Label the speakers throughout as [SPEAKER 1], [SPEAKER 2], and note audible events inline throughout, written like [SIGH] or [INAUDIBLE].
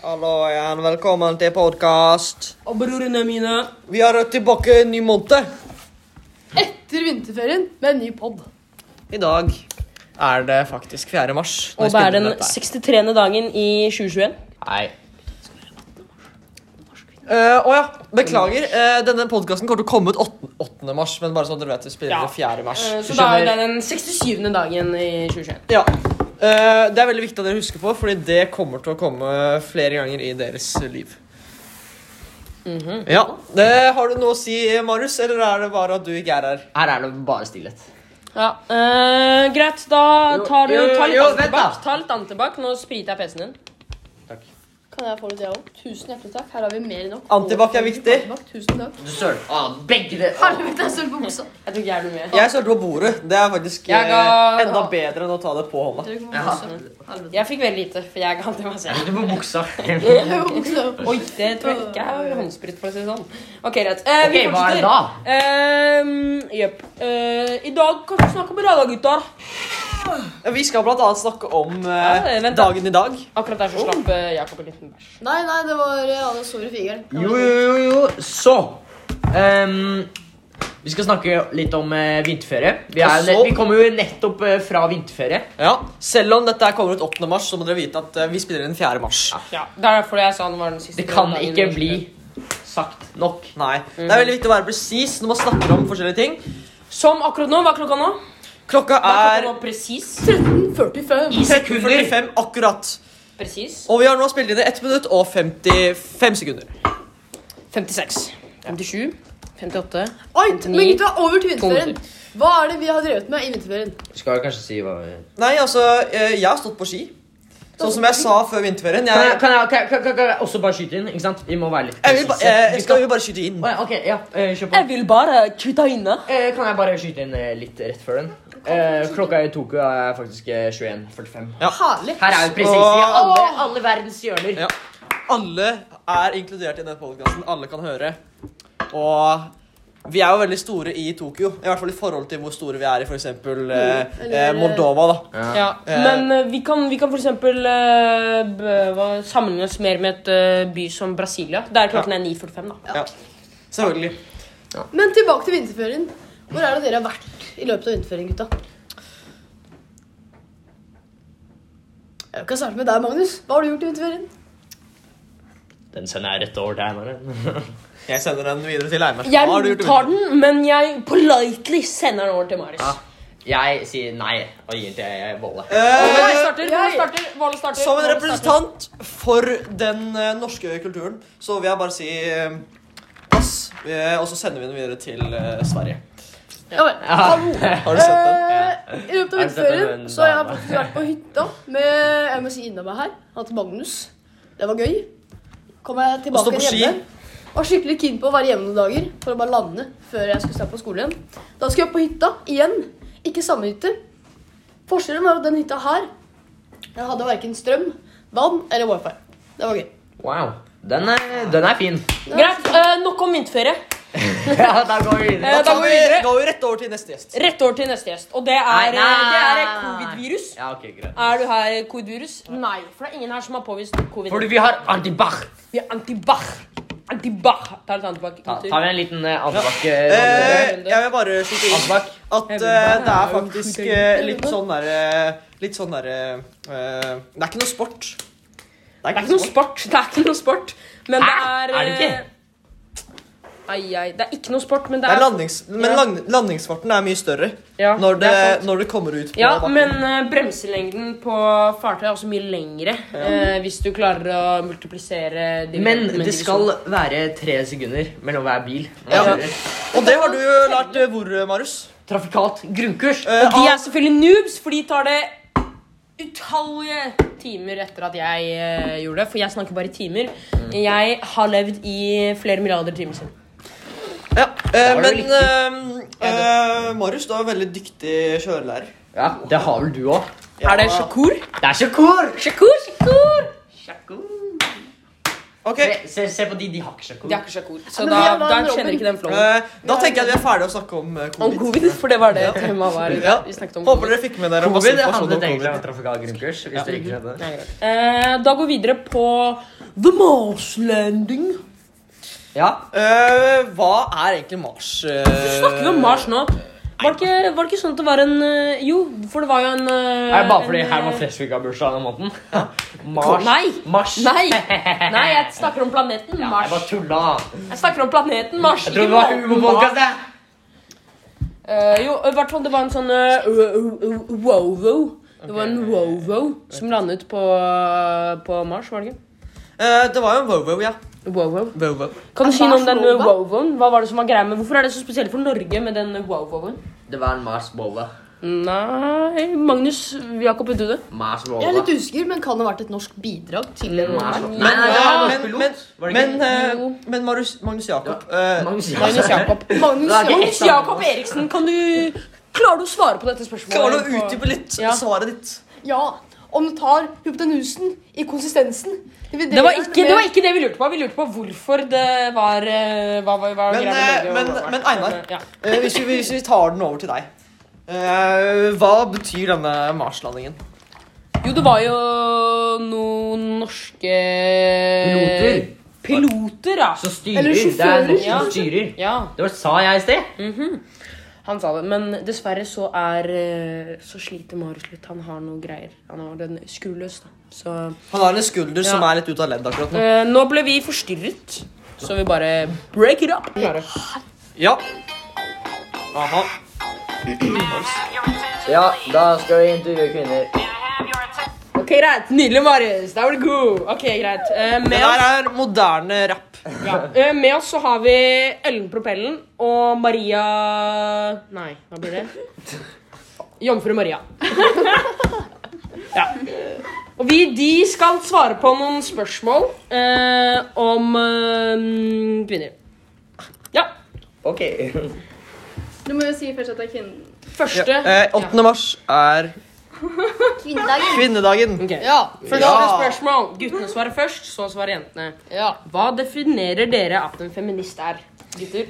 [SPEAKER 1] Hallo igjen, velkommen til podkast.
[SPEAKER 2] Og brorene mine.
[SPEAKER 1] Vi er tilbake en ny måned.
[SPEAKER 3] etter vinterferien med en ny pod.
[SPEAKER 1] I dag er det faktisk 4. mars.
[SPEAKER 2] Og
[SPEAKER 1] når
[SPEAKER 2] det
[SPEAKER 1] vi
[SPEAKER 2] er
[SPEAKER 1] spiller
[SPEAKER 2] den
[SPEAKER 1] dette her.
[SPEAKER 2] 63. dagen i 2021.
[SPEAKER 1] Nei. Eh, å ja, beklager. Eh, denne podkasten kommer til å komme ut 8. 8. mars. Men bare sånn at dere vet, vi spiller
[SPEAKER 2] Ja. Eh,
[SPEAKER 1] det 4. mars.
[SPEAKER 2] Så da er det den 67. dagen i 2021.
[SPEAKER 1] Ja. Eh, det er veldig viktig at dere husker på, Fordi det kommer til å komme flere ganger i deres liv.
[SPEAKER 2] Mhm.
[SPEAKER 1] Ja, det Har du noe å si, Marius, eller er det bare at du ikke er her?
[SPEAKER 4] Her er det bare stillhet.
[SPEAKER 2] Ja, eh, Greit, da tar du
[SPEAKER 4] Jo, jo,
[SPEAKER 2] ta litt
[SPEAKER 4] jo,
[SPEAKER 2] annet
[SPEAKER 4] vent da.
[SPEAKER 2] tilbake. Ta litt annet tilbake. Nå spriter jeg PC-en din.
[SPEAKER 3] Kan jeg få litt, jeg òg? Tusen hjertelig takk. Her har vi mer enn nok.
[SPEAKER 1] Antibac er viktig.
[SPEAKER 3] Antibac, Tusen takk.
[SPEAKER 4] Du søl. Ah, begge de ah.
[SPEAKER 3] Helvete, jeg står på buksa.
[SPEAKER 2] Jeg tror ikke jeg blir med.
[SPEAKER 1] Jeg sølte på bordet. Det er faktisk
[SPEAKER 2] Jeg
[SPEAKER 1] eh,
[SPEAKER 2] ga-
[SPEAKER 1] enda bedre enn å ta det på hånda.
[SPEAKER 3] Drikk på
[SPEAKER 4] Ja.
[SPEAKER 3] buksa. Helvete.
[SPEAKER 2] Jeg fikk veldig lite, for jeg ga til meg selv.
[SPEAKER 4] Du på buksa.
[SPEAKER 3] Jeg var buksa.
[SPEAKER 2] Oi, det tror jeg ikke er håndsprit, for å si det sånn. Ok, greit. Eh,
[SPEAKER 4] Ok, hva er det da?
[SPEAKER 2] Ehm, Jepp. Eh, I dag kan vi snakke om radiogutter.
[SPEAKER 1] Vi skal blant annet snakke om eh,
[SPEAKER 2] Ja, vent da.
[SPEAKER 1] dagen i dag.
[SPEAKER 2] Akkurat derfor slapp eh, Jakob en liten bæsj.
[SPEAKER 3] Nei, nei, det var eh, Anne Store Figeren.
[SPEAKER 4] Jo, jo, jo, jo. Så ehm, Vi skal snakke litt om eh, vinterferie. Vi, er, jo
[SPEAKER 1] Og så-
[SPEAKER 4] nett- vi kommer jo nettopp eh, fra vinterferie.
[SPEAKER 1] Ja, Selv om dette her kommer ut 8. mars, så må dere vite at eh, vi spiller den 4. mars.
[SPEAKER 2] Ja, Det er derfor jeg sa den var den siste.
[SPEAKER 4] Det kan
[SPEAKER 2] dagen i 2021.
[SPEAKER 4] ikke bli sagt nok.
[SPEAKER 1] Nei,
[SPEAKER 2] Mhm.
[SPEAKER 1] Det er veldig viktig å være presis når man snakker om forskjellige ting.
[SPEAKER 2] Som akkurat nå. Hva er klokka nå?
[SPEAKER 1] Klokka
[SPEAKER 2] Hva er
[SPEAKER 1] er
[SPEAKER 2] klokka nå presis?
[SPEAKER 3] 13.45.
[SPEAKER 4] I sekunder.
[SPEAKER 1] 45 akkurat.
[SPEAKER 2] Presis.
[SPEAKER 1] Og vi har nå spilt inn i 1 minutt og 55 sekunder.
[SPEAKER 2] 56. 57. 58.
[SPEAKER 3] Oi,
[SPEAKER 2] Ni.
[SPEAKER 3] men gutta, over til vinterferien. Hva er det vi har drevet med i vinterferien?
[SPEAKER 4] Skal vi kanskje si hva vi
[SPEAKER 1] Nei, altså, eh, jeg har stått på ski. Sånn som jeg sa før vinterferien.
[SPEAKER 4] Kan jeg,
[SPEAKER 1] Jeg,
[SPEAKER 4] kan jeg, kan jeg, kan jeg, kan jeg også bare skyte inn? ikke sant? Vi må være litt
[SPEAKER 1] jeg vil ba,
[SPEAKER 4] presise.
[SPEAKER 1] eh,
[SPEAKER 4] Vi
[SPEAKER 1] skal
[SPEAKER 4] skal-
[SPEAKER 1] vi bare skyte inn?
[SPEAKER 4] Å, ja, Ok, ja, eh, kjør på.
[SPEAKER 2] Jeg vil bare kutte inne.
[SPEAKER 4] Eh, Kan jeg bare skyte inn eh, litt rett før den? Eh, klokka i Tokyo er faktisk eh, 21.45.
[SPEAKER 1] Ja.
[SPEAKER 3] Herlig.
[SPEAKER 4] Her er vi presise i alle, alle verdens hjørner.
[SPEAKER 1] Ja. Alle er inkludert i denne podkasten. Alle kan høre. Og vi er jo veldig store i Tokyo. I hvert fall i forhold til hvor store vi er i f.eks. Eh, eh,
[SPEAKER 3] eller-
[SPEAKER 1] Moldova. da
[SPEAKER 2] Ja,
[SPEAKER 1] Eh.
[SPEAKER 2] Men eh, vi kan, vi kan f.eks. Uh, sammenligne oss mer med et eh, by som Brasilia. Der klokken er 9.45. da
[SPEAKER 1] ja. Selvfølgelig.
[SPEAKER 3] Men tilbake til vinterferien. Hvor er det dere har vært i løpet av vinterferien, gutta? Jeg kan starte med deg, Magnus. Hva har du gjort i vinterferien?
[SPEAKER 4] Den sender jeg rett over til Einar.
[SPEAKER 1] Jeg sender den videre til Einar. Hva har du
[SPEAKER 2] Jeg
[SPEAKER 1] gjort i
[SPEAKER 2] tar
[SPEAKER 1] vinter?
[SPEAKER 2] den, men jeg politely sender den over til Marius.
[SPEAKER 4] Ja. [LAUGHS] Jeg sier nei og gir den til Volle.
[SPEAKER 2] Og
[SPEAKER 1] Eh,
[SPEAKER 2] Våle starter, Våle
[SPEAKER 3] Jeg-
[SPEAKER 2] starter, Våle starter.
[SPEAKER 1] som
[SPEAKER 2] Våle
[SPEAKER 1] en
[SPEAKER 2] starter.
[SPEAKER 1] representant for den eh, norske kulturen, så vil jeg bare si eh, pass. Eh, og så sender vi den videre til eh, Sverige.
[SPEAKER 3] Ja vel. Hallo.
[SPEAKER 4] [LAUGHS]
[SPEAKER 1] Har du sett den?
[SPEAKER 3] Eh, I løpet av
[SPEAKER 4] Har du sett den
[SPEAKER 3] vinterferien
[SPEAKER 4] med en
[SPEAKER 3] så har jeg
[SPEAKER 4] dame?
[SPEAKER 3] faktisk vært på hytta med jeg må si innom meg her, hatt Magnus. Det var gøy. Kom
[SPEAKER 1] Og
[SPEAKER 3] jeg
[SPEAKER 1] stå
[SPEAKER 3] tilbake
[SPEAKER 1] på
[SPEAKER 3] igjen
[SPEAKER 1] ski.
[SPEAKER 3] hjemme. Var skikkelig keen på å være hjemme noen dager for å bare lande før jeg skulle starte på skolen igjen. Da skulle jeg på hytta igjen. Ikke samme hytte. Forskjellen var at den hytta her den hadde verken strøm, vann eller wifi. Det var gøy.
[SPEAKER 4] Wow. Den er, den er
[SPEAKER 1] [LAUGHS]
[SPEAKER 4] fin.
[SPEAKER 2] Greit, eh, nok om vinterferie.
[SPEAKER 4] Ja, da går vi videre.
[SPEAKER 2] Eh,
[SPEAKER 1] Da
[SPEAKER 2] da
[SPEAKER 1] går
[SPEAKER 2] går
[SPEAKER 1] vi,
[SPEAKER 2] videre.
[SPEAKER 1] går vi rett over til neste gjest.
[SPEAKER 2] Rett over til neste gjest, og det er, eh, det er eh, covid-virus.
[SPEAKER 4] Ja, ok, greit.
[SPEAKER 2] Er du her eh, covid-virus? Nei, for det er ingen her som har påvist covid.
[SPEAKER 4] Fordi vi har antibac.
[SPEAKER 2] Vi er antibac. Antibac. Ta litt antibac.
[SPEAKER 4] Ta,
[SPEAKER 2] gutter.
[SPEAKER 4] tar vi en liten eh, antibac?
[SPEAKER 1] Eh,
[SPEAKER 4] eh,
[SPEAKER 1] jeg vil bare skyte inn
[SPEAKER 4] Antibac.
[SPEAKER 1] at
[SPEAKER 2] Jeg vil
[SPEAKER 1] eh,
[SPEAKER 2] bare
[SPEAKER 1] det er
[SPEAKER 2] ha en
[SPEAKER 1] faktisk
[SPEAKER 2] skyting.
[SPEAKER 1] eh, litt sånn derre Litt sånn derre eh, Det er ikke noe sport.
[SPEAKER 2] Det er ikke noe sport. Det er ikke noe sport. Men det
[SPEAKER 4] Hæ?
[SPEAKER 2] er
[SPEAKER 4] Er det ikke?
[SPEAKER 2] eh, Ai, ai. Det er ikke noe sport, men det
[SPEAKER 1] Det er
[SPEAKER 2] er
[SPEAKER 1] landings, men
[SPEAKER 2] Ja.
[SPEAKER 1] land, landingsfarten er mye større
[SPEAKER 2] Ja,
[SPEAKER 1] når,
[SPEAKER 2] det
[SPEAKER 1] det,
[SPEAKER 2] er sant.
[SPEAKER 1] når det kommer ut på
[SPEAKER 2] ja,
[SPEAKER 1] bakken.
[SPEAKER 2] men eh, bremselengden på fartøy er også mye lengre. eh, hvis du klarer å multiplisere divisjon
[SPEAKER 4] Men
[SPEAKER 2] med
[SPEAKER 4] det
[SPEAKER 2] divisjon.
[SPEAKER 4] skal være tre sekunder mellom hver bil.
[SPEAKER 1] Ja.
[SPEAKER 4] Ja.
[SPEAKER 1] Og det har du jo lært eh, hvor, eh, Marius?
[SPEAKER 4] Trafikalt grunnkurs.
[SPEAKER 1] Eh,
[SPEAKER 2] Og de
[SPEAKER 1] av-
[SPEAKER 2] er selvfølgelig noobs, for de tar det utallige timer etter at jeg eh, gjorde det. For jeg snakker bare i timer. Jeg har levd i flere milliarder timer siden.
[SPEAKER 1] ja. eh,
[SPEAKER 4] var du
[SPEAKER 1] men eh, eh, Marius, du er en veldig dyktig kjørelærer.
[SPEAKER 4] Ja, det har vel du òg.
[SPEAKER 1] Ja.
[SPEAKER 2] Er det sjakur?
[SPEAKER 4] Det er så cool!
[SPEAKER 2] Sjakur, sjakur!
[SPEAKER 1] Ok.
[SPEAKER 4] Se, se, se på de, de har ikke
[SPEAKER 2] De
[SPEAKER 4] sjekka.
[SPEAKER 2] har ikke sjekk ord. Så
[SPEAKER 3] men
[SPEAKER 2] da,
[SPEAKER 3] vi har da
[SPEAKER 2] da
[SPEAKER 3] en
[SPEAKER 2] kjenner
[SPEAKER 3] Robin.
[SPEAKER 2] ikke den flowen.
[SPEAKER 1] Eh, da tenker jeg at vi er ferdige å snakke om eh,
[SPEAKER 2] Om
[SPEAKER 1] covid.
[SPEAKER 2] covid, for det var det temaet var.
[SPEAKER 1] Ja.
[SPEAKER 2] Vi snakket om
[SPEAKER 1] Håper
[SPEAKER 2] covid.
[SPEAKER 1] dere fikk med dere masse
[SPEAKER 4] Covid
[SPEAKER 1] informasjon om
[SPEAKER 4] handlet egentlig
[SPEAKER 1] covid.
[SPEAKER 4] om trafikal grunnkurs. Hvis dere ikke skjønte det.
[SPEAKER 2] Nei, greit. Eh, da går vi videre på The Mars Landing.
[SPEAKER 4] Ja.
[SPEAKER 1] Eh, hva er egentlig Mars? eh,
[SPEAKER 2] Hvorfor snakker vi om Mars nå? Var det, ikke, var det ikke sånn at det var en eh, Jo, for det var jo en eh,
[SPEAKER 4] Er det bare fordi
[SPEAKER 2] en,
[SPEAKER 4] Herman
[SPEAKER 2] eh,
[SPEAKER 4] Flesvig har bursdag denne måneden?
[SPEAKER 2] Kom-
[SPEAKER 4] [LAUGHS] Mars.
[SPEAKER 2] Nei.
[SPEAKER 4] Mars.
[SPEAKER 2] Nei. Nei, jeg snakker om planeten
[SPEAKER 4] Ja, jeg
[SPEAKER 2] Mars.
[SPEAKER 4] bare tulla.
[SPEAKER 2] Jeg snakker om planeten Mars.
[SPEAKER 4] Jeg trodde det var altså? humorpodkast, jeg.
[SPEAKER 2] Eh, jo, i hvert fall det var en sånn eh, wo- wo- Wovo. Det var en Wovo som landet på, på Mars, var det ikke?
[SPEAKER 1] Eh, det var jo en Wowow, ja.
[SPEAKER 2] Wovo.
[SPEAKER 1] Wowow.
[SPEAKER 2] Kan du si noe
[SPEAKER 3] Mars
[SPEAKER 2] om den
[SPEAKER 3] Nova?
[SPEAKER 2] Wovoen? Hva var det som var greia med Hvorfor er det så spesielt for Norge med den eh, Wovoen?
[SPEAKER 4] Det var en Mars-bolle.
[SPEAKER 2] Nei Magnus Jakob, vet du det? [LAUGHS]
[SPEAKER 4] Mars-bolle.
[SPEAKER 3] Jeg er litt usikker, men kan det ha vært et norsk bidrag til en
[SPEAKER 4] Mars.
[SPEAKER 3] Mars?
[SPEAKER 1] Men,
[SPEAKER 4] Nei,
[SPEAKER 1] ja,
[SPEAKER 4] det var
[SPEAKER 1] men,
[SPEAKER 4] pilot,
[SPEAKER 1] men,
[SPEAKER 4] var det
[SPEAKER 1] men,
[SPEAKER 4] ikke?
[SPEAKER 1] eh,
[SPEAKER 2] Jo.
[SPEAKER 1] men Magnus, Magnus Jakob eh,
[SPEAKER 4] Magnus
[SPEAKER 2] Magnus Jakob.
[SPEAKER 3] Magnus
[SPEAKER 4] Det er
[SPEAKER 3] Jakob.
[SPEAKER 4] ikke-
[SPEAKER 2] Magnus Jakob Eriksen, kan du Klarer du å svare på dette spørsmålet?
[SPEAKER 1] Klarer du å utdype litt
[SPEAKER 2] Ja.
[SPEAKER 1] svaret ditt?
[SPEAKER 3] Ja. Om du tar hypotenusen i konsistensen
[SPEAKER 2] Det var, ikke, det var ikke det vi lurte på. Vi lurte på hvorfor det var eh, Hva var, hva var
[SPEAKER 1] Men,
[SPEAKER 2] greia med Norge
[SPEAKER 1] eh,
[SPEAKER 2] og
[SPEAKER 1] men-
[SPEAKER 2] Danmark.
[SPEAKER 1] men Einar.
[SPEAKER 2] Ja.
[SPEAKER 1] Eh, hvis, vi, hvis vi tar den over til deg. Eh, hva betyr denne Mars-landingen?
[SPEAKER 2] Jo, det var jo noen norske
[SPEAKER 4] Piloter.
[SPEAKER 2] Piloter, ja.
[SPEAKER 4] Som styrer.
[SPEAKER 3] Eller
[SPEAKER 4] Det er
[SPEAKER 3] sjåfører.
[SPEAKER 4] norsk som styrer.
[SPEAKER 2] ja.
[SPEAKER 4] Det var sa jeg i sted.
[SPEAKER 2] Han sa det. Men dessverre så er eh, Så sliter Marius litt. Han har noe greier. Han har den skruløs, da. Så
[SPEAKER 1] Han har en skulder som
[SPEAKER 2] Ja.
[SPEAKER 1] er litt ut av ledd akkurat nå.
[SPEAKER 2] eh, Nå ble vi forstyrret, så vi bare break it up. Klarer.
[SPEAKER 1] Ja. Aha.
[SPEAKER 4] Ja, da skal vi intervjue kvinner.
[SPEAKER 2] Ok, greit. Nydelig, Marius. Da var du god. Ok, greit. Eh,
[SPEAKER 1] Det
[SPEAKER 2] med,
[SPEAKER 1] der
[SPEAKER 2] oss,
[SPEAKER 1] er moderne rapp.
[SPEAKER 2] ja. Eh, med oss så har vi Ellen Propellen og Maria Nei, hva blir det? Jomfru Maria. ja. Og vi, de skal svare på noen spørsmål eh, om eh, kvinner. Ja.
[SPEAKER 4] Ok.
[SPEAKER 5] Du må jo si først at det er kvinnen.
[SPEAKER 2] Første.
[SPEAKER 1] Eh, 8. mars er
[SPEAKER 3] Kvinnedagen.
[SPEAKER 1] kvinnedagen.
[SPEAKER 2] Ok.
[SPEAKER 3] Ja.
[SPEAKER 2] Første
[SPEAKER 1] eh. Ja.
[SPEAKER 2] spørsmål. Guttene svarer først, så svarer jentene.
[SPEAKER 3] ja.
[SPEAKER 2] Hva definerer dere at en feminist er? Gutter?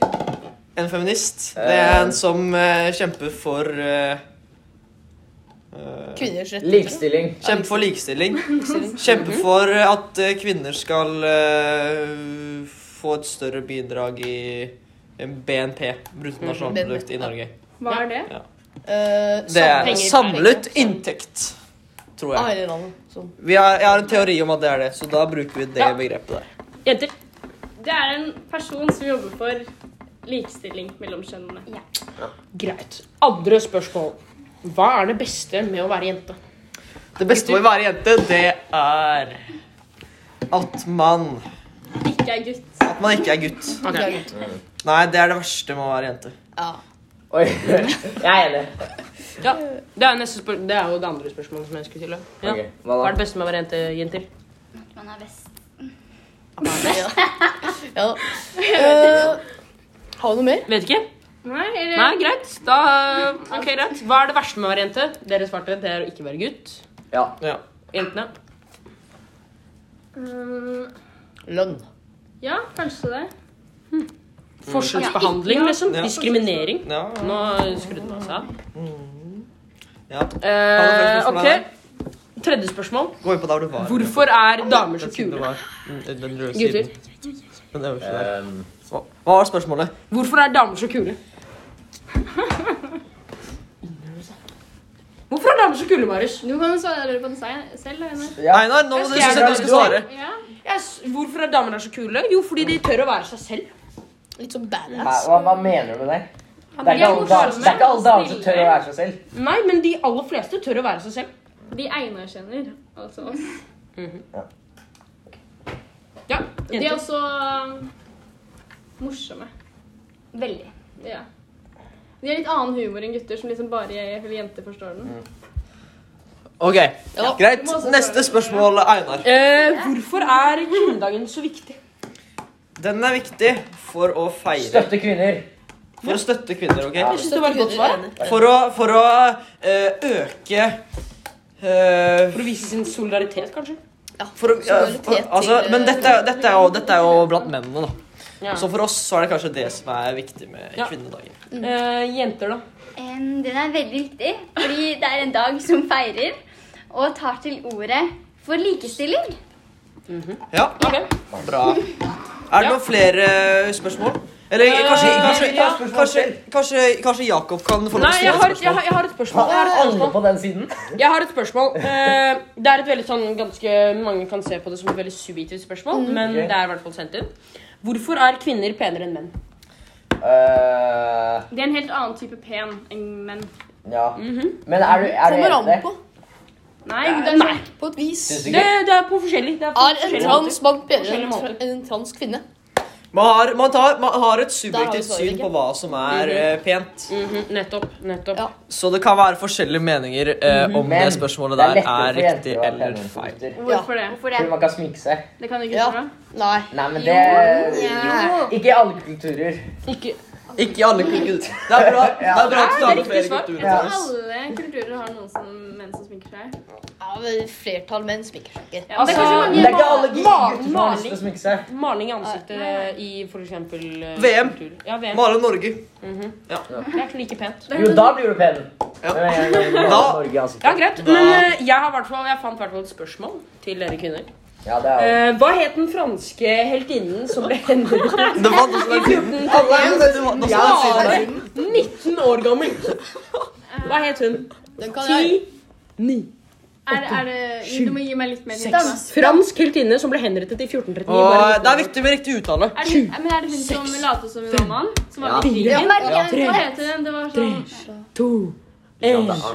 [SPEAKER 1] En feminist. Det er en som eh, kjemper for eh, eh,
[SPEAKER 3] Kvinners rett.
[SPEAKER 4] Likestilling.
[SPEAKER 1] Kjempe for likestilling. Kjempe
[SPEAKER 2] Mhm.
[SPEAKER 1] for eh, at eh, kvinner skal eh, få et større bidrag i BNP,
[SPEAKER 2] Mhm.
[SPEAKER 1] bruttonasjonalprodukt, i Norge.
[SPEAKER 5] Hva er det?
[SPEAKER 3] Eh,
[SPEAKER 1] Det er
[SPEAKER 3] sammenheng.
[SPEAKER 1] samlet inntekt, tror
[SPEAKER 3] Ah,
[SPEAKER 1] jeg.
[SPEAKER 3] hele landet. Sånn.
[SPEAKER 1] Vi har, jeg har en teori om at det er det, så da bruker vi det
[SPEAKER 2] Ja.
[SPEAKER 1] begrepet der.
[SPEAKER 2] Jenter?
[SPEAKER 5] Det er en person som jobber for likestilling mellom kjønnene.
[SPEAKER 2] Greit. Andre spørsmål. Hva er det beste med å være jente?
[SPEAKER 1] Det beste med å være jente, det er at man
[SPEAKER 5] Ikke er gutt.
[SPEAKER 1] At man ikke er gutt.
[SPEAKER 3] Okay.
[SPEAKER 1] Nei, det er det verste med å være jente.
[SPEAKER 3] Ja.
[SPEAKER 4] Oi. [LAUGHS] Jeg er enig.
[SPEAKER 2] Ja, det er, neste spør det er jo det andre spørsmålet som jeg skulle til. Ja.
[SPEAKER 4] Ok, hva da?
[SPEAKER 2] Hva er det beste med å være jente, jenter?
[SPEAKER 6] Man er best.
[SPEAKER 3] ja. Eh, har du noe mer?
[SPEAKER 2] Vet ikke.
[SPEAKER 5] Nei, eller
[SPEAKER 2] Nei, greit. Da, ok, greit. Hva er det verste med å være jente? Dere svarte det er å ikke være gutt.
[SPEAKER 4] Ja.
[SPEAKER 1] Ja.
[SPEAKER 2] Jentene.
[SPEAKER 5] Mm,
[SPEAKER 3] Lønn.
[SPEAKER 5] Ja, kanskje det.
[SPEAKER 2] Forskjellsbehandling, liksom.
[SPEAKER 1] Ja.
[SPEAKER 2] Diskriminering.
[SPEAKER 1] ja.
[SPEAKER 2] Nå skrudde den av seg.
[SPEAKER 1] ja.
[SPEAKER 2] Eh,
[SPEAKER 1] Har du flere spørsmål,
[SPEAKER 2] ok. Tredje spørsmål.
[SPEAKER 1] Gå inn på der du var.
[SPEAKER 2] Hvorfor er damer så
[SPEAKER 1] Den siden det
[SPEAKER 2] kule?
[SPEAKER 1] var. Den- den røde
[SPEAKER 2] Gutter.
[SPEAKER 1] siden. Den øverste der. Hva hva var spørsmålet?
[SPEAKER 2] Hvorfor er damer så kule? Hvorfor er damer så kule, Marius?
[SPEAKER 5] Du kan jo svare på det se- selv. da, Einar.
[SPEAKER 1] Einar, nå må du,
[SPEAKER 2] Jeg skal-
[SPEAKER 1] du skal svare.
[SPEAKER 5] Ja.
[SPEAKER 2] Jeg s- hvorfor er damer er så kule? Jo, fordi de tør å være seg selv.
[SPEAKER 3] Litt sånn badass.
[SPEAKER 4] Hva, hva mener du med det? Det er
[SPEAKER 5] de er
[SPEAKER 4] ikke alle damer-
[SPEAKER 5] morsomme,
[SPEAKER 4] det er ikke alle damer som
[SPEAKER 5] snille.
[SPEAKER 4] tør å være seg selv.
[SPEAKER 2] Nei, men de aller fleste tør å være seg selv.
[SPEAKER 5] De Einar kjenner, altså oss.
[SPEAKER 2] Ja,
[SPEAKER 5] De er
[SPEAKER 2] jenter.
[SPEAKER 5] også øh, morsomme.
[SPEAKER 2] Veldig.
[SPEAKER 5] Ja. De har litt annen humor enn gutter, som liksom bare jeg, eller jenter forstår den.
[SPEAKER 4] Mm.
[SPEAKER 1] Ok, Greit.
[SPEAKER 5] Du må også
[SPEAKER 1] Neste
[SPEAKER 5] svare.
[SPEAKER 1] spørsmål, Einar.
[SPEAKER 2] Eh, hvorfor er kvinnedagen så viktig?
[SPEAKER 1] Den er viktig for å feire.
[SPEAKER 4] Støtte kvinner.
[SPEAKER 1] For å støtte kvinner,
[SPEAKER 4] Ja.
[SPEAKER 1] ok?
[SPEAKER 2] Jeg synes det var et godt svar.
[SPEAKER 1] For å, for å eh, øke eh,
[SPEAKER 2] For å vise sin solidaritet, kanskje.
[SPEAKER 3] Ja,
[SPEAKER 1] For, å- ja,
[SPEAKER 3] solidaritet
[SPEAKER 1] for, altså,
[SPEAKER 3] til,
[SPEAKER 1] men
[SPEAKER 3] eh,
[SPEAKER 1] dette, er- dette, er jo, dette er jo blant mennene, da.
[SPEAKER 2] Ja.
[SPEAKER 1] Så for oss så er det kanskje det som er viktig med
[SPEAKER 2] Ja.
[SPEAKER 1] kvinnedagen.
[SPEAKER 2] Eh, jenter, da?
[SPEAKER 6] Em, Den er veldig viktig, fordi det er en dag som feirer og tar til ordet for likestilling.
[SPEAKER 1] Ja, bra. Er det noen flere eh, spørsmål? Eller
[SPEAKER 2] Eh,
[SPEAKER 1] kanskje, kanskje,
[SPEAKER 2] ja,
[SPEAKER 1] kanskje, kanskje, kanskje Jakob kan få lov
[SPEAKER 2] Nei,
[SPEAKER 1] til
[SPEAKER 2] jeg
[SPEAKER 1] å
[SPEAKER 2] har,
[SPEAKER 1] stille et
[SPEAKER 2] jeg, har, jeg har
[SPEAKER 1] spørsmål?
[SPEAKER 2] et spørsmål. Jeg har et spørsmål.
[SPEAKER 4] på den siden?
[SPEAKER 2] Jeg har et spørsmål. Eh, det er et veldig sånn ganske Mange kan se på det som et veldig subjektivt spørsmål, men
[SPEAKER 4] Ok.
[SPEAKER 2] det er i hvert fall sendt inn. Hvorfor er kvinner penere enn menn?
[SPEAKER 5] Det er en helt annen type pen enn menn.
[SPEAKER 4] Eh, ja. Men er du, er du
[SPEAKER 3] Kommer an
[SPEAKER 4] enig?
[SPEAKER 3] på.
[SPEAKER 5] Nei, det er sånn
[SPEAKER 3] På et vis.
[SPEAKER 4] Syns du
[SPEAKER 2] Det,
[SPEAKER 4] ikke?
[SPEAKER 2] det er på forskjellig. Det er på
[SPEAKER 3] Er en sånn-
[SPEAKER 2] forskjellig
[SPEAKER 3] trans mann bedre
[SPEAKER 2] Forskjellige
[SPEAKER 3] enn en
[SPEAKER 2] måter.
[SPEAKER 3] tra- en trans kvinne?
[SPEAKER 1] Man har, man, tar, man har et
[SPEAKER 3] Der har vi
[SPEAKER 1] subjektivt
[SPEAKER 3] svaret,
[SPEAKER 1] syn
[SPEAKER 3] ikke?
[SPEAKER 1] på hva som er eh, pent.
[SPEAKER 2] Mhm, nettopp. nettopp.
[SPEAKER 3] Ja.
[SPEAKER 1] Så det kan være forskjellige meninger eh,
[SPEAKER 2] Mm-hmm.
[SPEAKER 1] om
[SPEAKER 4] Men
[SPEAKER 1] det spørsmålet der
[SPEAKER 4] lettere for
[SPEAKER 1] er
[SPEAKER 4] jenter
[SPEAKER 1] riktig
[SPEAKER 4] å være
[SPEAKER 1] eller
[SPEAKER 4] penere enn for
[SPEAKER 1] feil.
[SPEAKER 4] gutter.
[SPEAKER 5] Hvorfor det?
[SPEAKER 6] Hvorfor
[SPEAKER 4] Fordi
[SPEAKER 6] det?
[SPEAKER 4] man kan smykke seg.
[SPEAKER 5] Det kan jo
[SPEAKER 3] Ja.
[SPEAKER 5] gutter òg.
[SPEAKER 3] Nei.
[SPEAKER 4] Nei, men det
[SPEAKER 6] Jo.
[SPEAKER 4] Ikke i alle kulturer.
[SPEAKER 2] Ikke,
[SPEAKER 1] Ikke i alle kulturer. Det er bra, det er bra at du
[SPEAKER 2] Ja, det er
[SPEAKER 1] har
[SPEAKER 2] riktig
[SPEAKER 1] flere
[SPEAKER 2] svar.
[SPEAKER 1] kulturer.
[SPEAKER 5] Jeg tror
[SPEAKER 1] Thomas.
[SPEAKER 5] alle kulturer har noen som menn som sminker seg.
[SPEAKER 3] Ja, men flertall menn sminker seg ikke.
[SPEAKER 5] Ja, men det er
[SPEAKER 2] Altså,
[SPEAKER 5] kanskje mange
[SPEAKER 4] Det er ikke alle gutter
[SPEAKER 2] ma-
[SPEAKER 4] som har lyst til å
[SPEAKER 2] maling.
[SPEAKER 4] smykke seg.
[SPEAKER 2] maling i ansiktet i for eksempel eh,
[SPEAKER 1] VM.
[SPEAKER 2] kultur. Ja, VM.
[SPEAKER 1] Male Norge.
[SPEAKER 2] Det er ikke like pent.
[SPEAKER 5] Det er
[SPEAKER 4] Jo,
[SPEAKER 5] kanskje-
[SPEAKER 4] da blir du pen.
[SPEAKER 1] Ja.
[SPEAKER 4] Men en gang du
[SPEAKER 1] Da-
[SPEAKER 4] har Norge altså. i
[SPEAKER 2] Ja,
[SPEAKER 4] ansiktet.
[SPEAKER 2] greit. Men eh, jeg, har hvertfall- jeg fant i hvert fall et spørsmål til dere kvinner.
[SPEAKER 4] Ja, det er
[SPEAKER 2] Eh, hva het den franske heltinnen som ble henrettet
[SPEAKER 1] Det var noe som
[SPEAKER 2] i [LAUGHS]
[SPEAKER 1] er fint.
[SPEAKER 2] 14
[SPEAKER 1] Alle er jo det som var- noe som er fint.
[SPEAKER 2] Bare 19 år gammel. Eh, Hva het hun?
[SPEAKER 3] Den kan jeg
[SPEAKER 2] 10 9
[SPEAKER 5] Er, er det, du må gi meg litt mer hint. da.
[SPEAKER 2] Fransk heltinne som ble henrettet i 1439.
[SPEAKER 1] Og
[SPEAKER 2] bare
[SPEAKER 1] det er
[SPEAKER 2] 19 år.
[SPEAKER 1] viktig med riktig uttale.
[SPEAKER 5] Er det, men er det hun som lot som hun var mann? Som var i
[SPEAKER 2] Ja.
[SPEAKER 5] krigen?
[SPEAKER 6] Merke
[SPEAKER 5] Hva heter hun? Det var sånn
[SPEAKER 2] To, en. Jeanne d'Arc.
[SPEAKER 5] Å,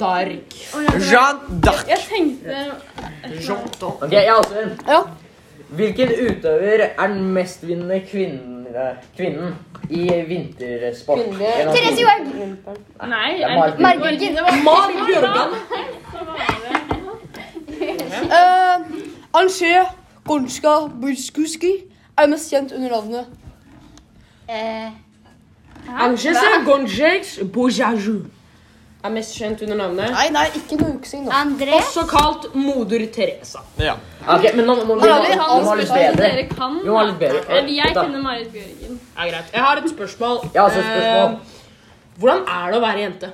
[SPEAKER 5] ja, det var-
[SPEAKER 1] Jeanne d'Arc.
[SPEAKER 5] Jeg tenkte
[SPEAKER 4] Ok, jeg har også en.
[SPEAKER 3] Ja.
[SPEAKER 4] Hvilken utøver er den mestvinnende kvinnen, eh, kvinnen i vintersport? Gjennom
[SPEAKER 6] Therese
[SPEAKER 4] tiden?
[SPEAKER 6] Johaug.
[SPEAKER 5] Nei.
[SPEAKER 4] Det er
[SPEAKER 5] er
[SPEAKER 4] Marit
[SPEAKER 5] det-
[SPEAKER 6] Bjørgen.
[SPEAKER 5] Bjørgen, det var-
[SPEAKER 2] Marit Bjørgan.
[SPEAKER 5] Hva var det?
[SPEAKER 3] Uh, Angé Gonska Buskuski er mest kjent under navnet
[SPEAKER 6] Eh,
[SPEAKER 2] Angesa Gonjex Bojaju. Er mest kjent under navnet.
[SPEAKER 3] Nei, nei, ikke noe uksing nå.
[SPEAKER 6] André.
[SPEAKER 2] Også kalt moder Teresa.
[SPEAKER 1] Ja.
[SPEAKER 4] Ok, men nå må vi
[SPEAKER 3] Har vi
[SPEAKER 4] vi
[SPEAKER 3] hans
[SPEAKER 4] må ha litt
[SPEAKER 5] Spørsmål
[SPEAKER 4] bedre.
[SPEAKER 5] dere kan.
[SPEAKER 4] Vi må ha litt bedre.
[SPEAKER 5] Men jeg
[SPEAKER 4] Vent da.
[SPEAKER 5] kjenner Marit Bjørgen.
[SPEAKER 2] Ja, greit. Jeg har et spørsmål.
[SPEAKER 4] Jeg har også et altså, spørsmål.
[SPEAKER 2] Eh, hvordan er det å være jente?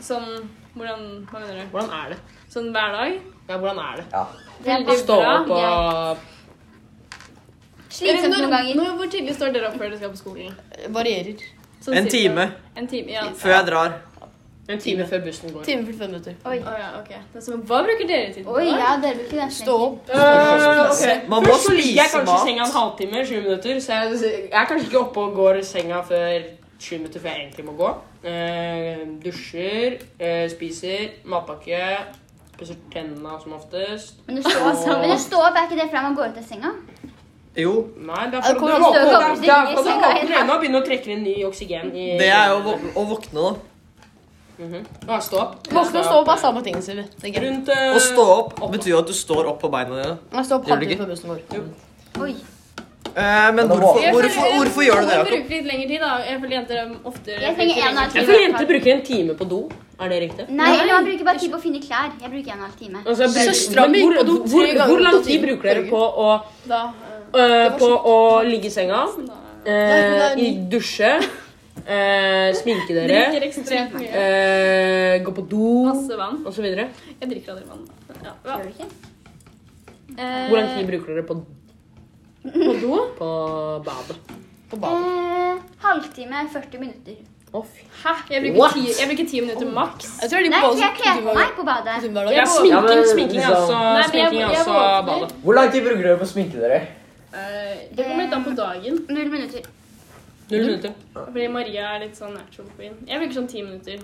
[SPEAKER 5] Sånn Hvordan Hva mener du?
[SPEAKER 2] Hvordan er det?
[SPEAKER 5] Sånn hver dag?
[SPEAKER 2] Ja, hvordan er det?
[SPEAKER 5] Veldig
[SPEAKER 2] Stå
[SPEAKER 5] bra.
[SPEAKER 2] opp og
[SPEAKER 5] Eller
[SPEAKER 6] Slitsomt
[SPEAKER 5] når,
[SPEAKER 6] noen ganger.
[SPEAKER 5] når, hvor tidlig står dere opp før dere skal på skolen?
[SPEAKER 3] Varierer.
[SPEAKER 5] Sånn
[SPEAKER 1] En
[SPEAKER 5] cirka.
[SPEAKER 1] time
[SPEAKER 5] En time, ja.
[SPEAKER 1] før jeg drar.
[SPEAKER 2] en time før bussen går.
[SPEAKER 3] Time 45 minutter.
[SPEAKER 5] Å ja, ok. Det er som, hva bruker dere tid på?
[SPEAKER 6] Oi, ja, dere bruker den
[SPEAKER 3] Stå opp.
[SPEAKER 1] Man må
[SPEAKER 2] Først så ligger jeg
[SPEAKER 1] spise
[SPEAKER 2] kanskje i senga en
[SPEAKER 1] mat.
[SPEAKER 2] halvtime, 20 minutter, så jeg, jeg er kanskje ikke oppe og går i senga før 20 minutter før jeg egentlig må gå. Eh, dusjer, eh, spiser, matpakke, pusser tenna som oftest.
[SPEAKER 6] Men å stå, men å stå opp, er ikke det fra man går ut av senga?
[SPEAKER 1] Jo,
[SPEAKER 2] Nei, det er
[SPEAKER 3] Jeg
[SPEAKER 2] for
[SPEAKER 3] kommer
[SPEAKER 2] å våkne
[SPEAKER 3] til å
[SPEAKER 6] støke
[SPEAKER 2] opp-
[SPEAKER 6] opp
[SPEAKER 2] det er for
[SPEAKER 6] i
[SPEAKER 2] å
[SPEAKER 6] senga
[SPEAKER 2] våkne
[SPEAKER 6] igjen.
[SPEAKER 2] øynene og begynne å trekke inn ny oksygen i
[SPEAKER 1] det er jo å vå- å våkne, da.
[SPEAKER 2] Mhm. Ja, stå opp.
[SPEAKER 3] Våkne og stå opp er samme ting, sier vi. Det er greit.
[SPEAKER 2] Rundt eh,
[SPEAKER 1] Å stå opp betyr jo at du står opp på beina dine.
[SPEAKER 3] Jeg står opp
[SPEAKER 1] Gjør du ikke?
[SPEAKER 3] halvtime før bussen går.
[SPEAKER 6] Oi.
[SPEAKER 1] Eh, men
[SPEAKER 4] da
[SPEAKER 1] hvorfor,
[SPEAKER 4] våkner
[SPEAKER 5] Jeg
[SPEAKER 1] hvorfor,
[SPEAKER 5] føler-
[SPEAKER 1] hvorfor gjør du det, Jakob?
[SPEAKER 5] Jeg bruker litt lengre tid, da. Jeg føler jenter er oftere
[SPEAKER 6] Jeg trenger en og en
[SPEAKER 2] Jeg
[SPEAKER 6] halv
[SPEAKER 2] tror jenter
[SPEAKER 6] time.
[SPEAKER 2] bruker en time på do. Er det riktig?
[SPEAKER 6] Nei, eller man bruker bare tid på å finne klær. Jeg bruker en og en halv time.
[SPEAKER 2] Altså, bruk,
[SPEAKER 3] Søstera mi
[SPEAKER 2] hvor,
[SPEAKER 3] gikk på do
[SPEAKER 2] hvor,
[SPEAKER 3] tre
[SPEAKER 2] hvor,
[SPEAKER 3] ganger
[SPEAKER 2] hvor lang
[SPEAKER 3] på
[SPEAKER 2] tid
[SPEAKER 3] tiden.
[SPEAKER 2] bruker dere på å,
[SPEAKER 5] Da, eh,
[SPEAKER 2] øh, på å ligge i senga,
[SPEAKER 3] Nei,
[SPEAKER 2] øh, i dusje, øh, sminke
[SPEAKER 5] jeg
[SPEAKER 2] dere,
[SPEAKER 5] drikker ekstremt
[SPEAKER 1] Eh.
[SPEAKER 5] mye.
[SPEAKER 2] øh, gå på do
[SPEAKER 5] Masse vann.
[SPEAKER 2] osv.?
[SPEAKER 5] Jeg drikker aldri vann. Ja.
[SPEAKER 6] Gjør du ikke?
[SPEAKER 2] Hvor lang tid bruker dere på,
[SPEAKER 5] Eh. På do?
[SPEAKER 2] på badet?
[SPEAKER 3] På badet.
[SPEAKER 6] Eh, halvtime, 40 minutter.
[SPEAKER 2] Å, fy.
[SPEAKER 5] Hæ? Jeg
[SPEAKER 4] What?
[SPEAKER 5] bruker ti, jeg bruker ti minutter maks.
[SPEAKER 3] Jeg tror de
[SPEAKER 6] Nei,
[SPEAKER 3] på
[SPEAKER 6] for jeg kler på meg på badet.
[SPEAKER 3] badet hver
[SPEAKER 2] Ja,
[SPEAKER 3] dag.
[SPEAKER 4] Ja, men
[SPEAKER 2] sminking, sminking er
[SPEAKER 4] liksom-
[SPEAKER 2] altså,
[SPEAKER 5] Nei, men jeg-
[SPEAKER 2] sminking er
[SPEAKER 5] jeg
[SPEAKER 2] altså
[SPEAKER 5] våkner.
[SPEAKER 2] badet.
[SPEAKER 4] Hvor lang tid bruker dere på å sminke dere?
[SPEAKER 5] Eh, Det kommer litt an på dagen.
[SPEAKER 6] Null minutter.
[SPEAKER 2] Null minutter.
[SPEAKER 5] Fordi Maria er litt sånn natural queen. Jeg bruker sånn ti minutter.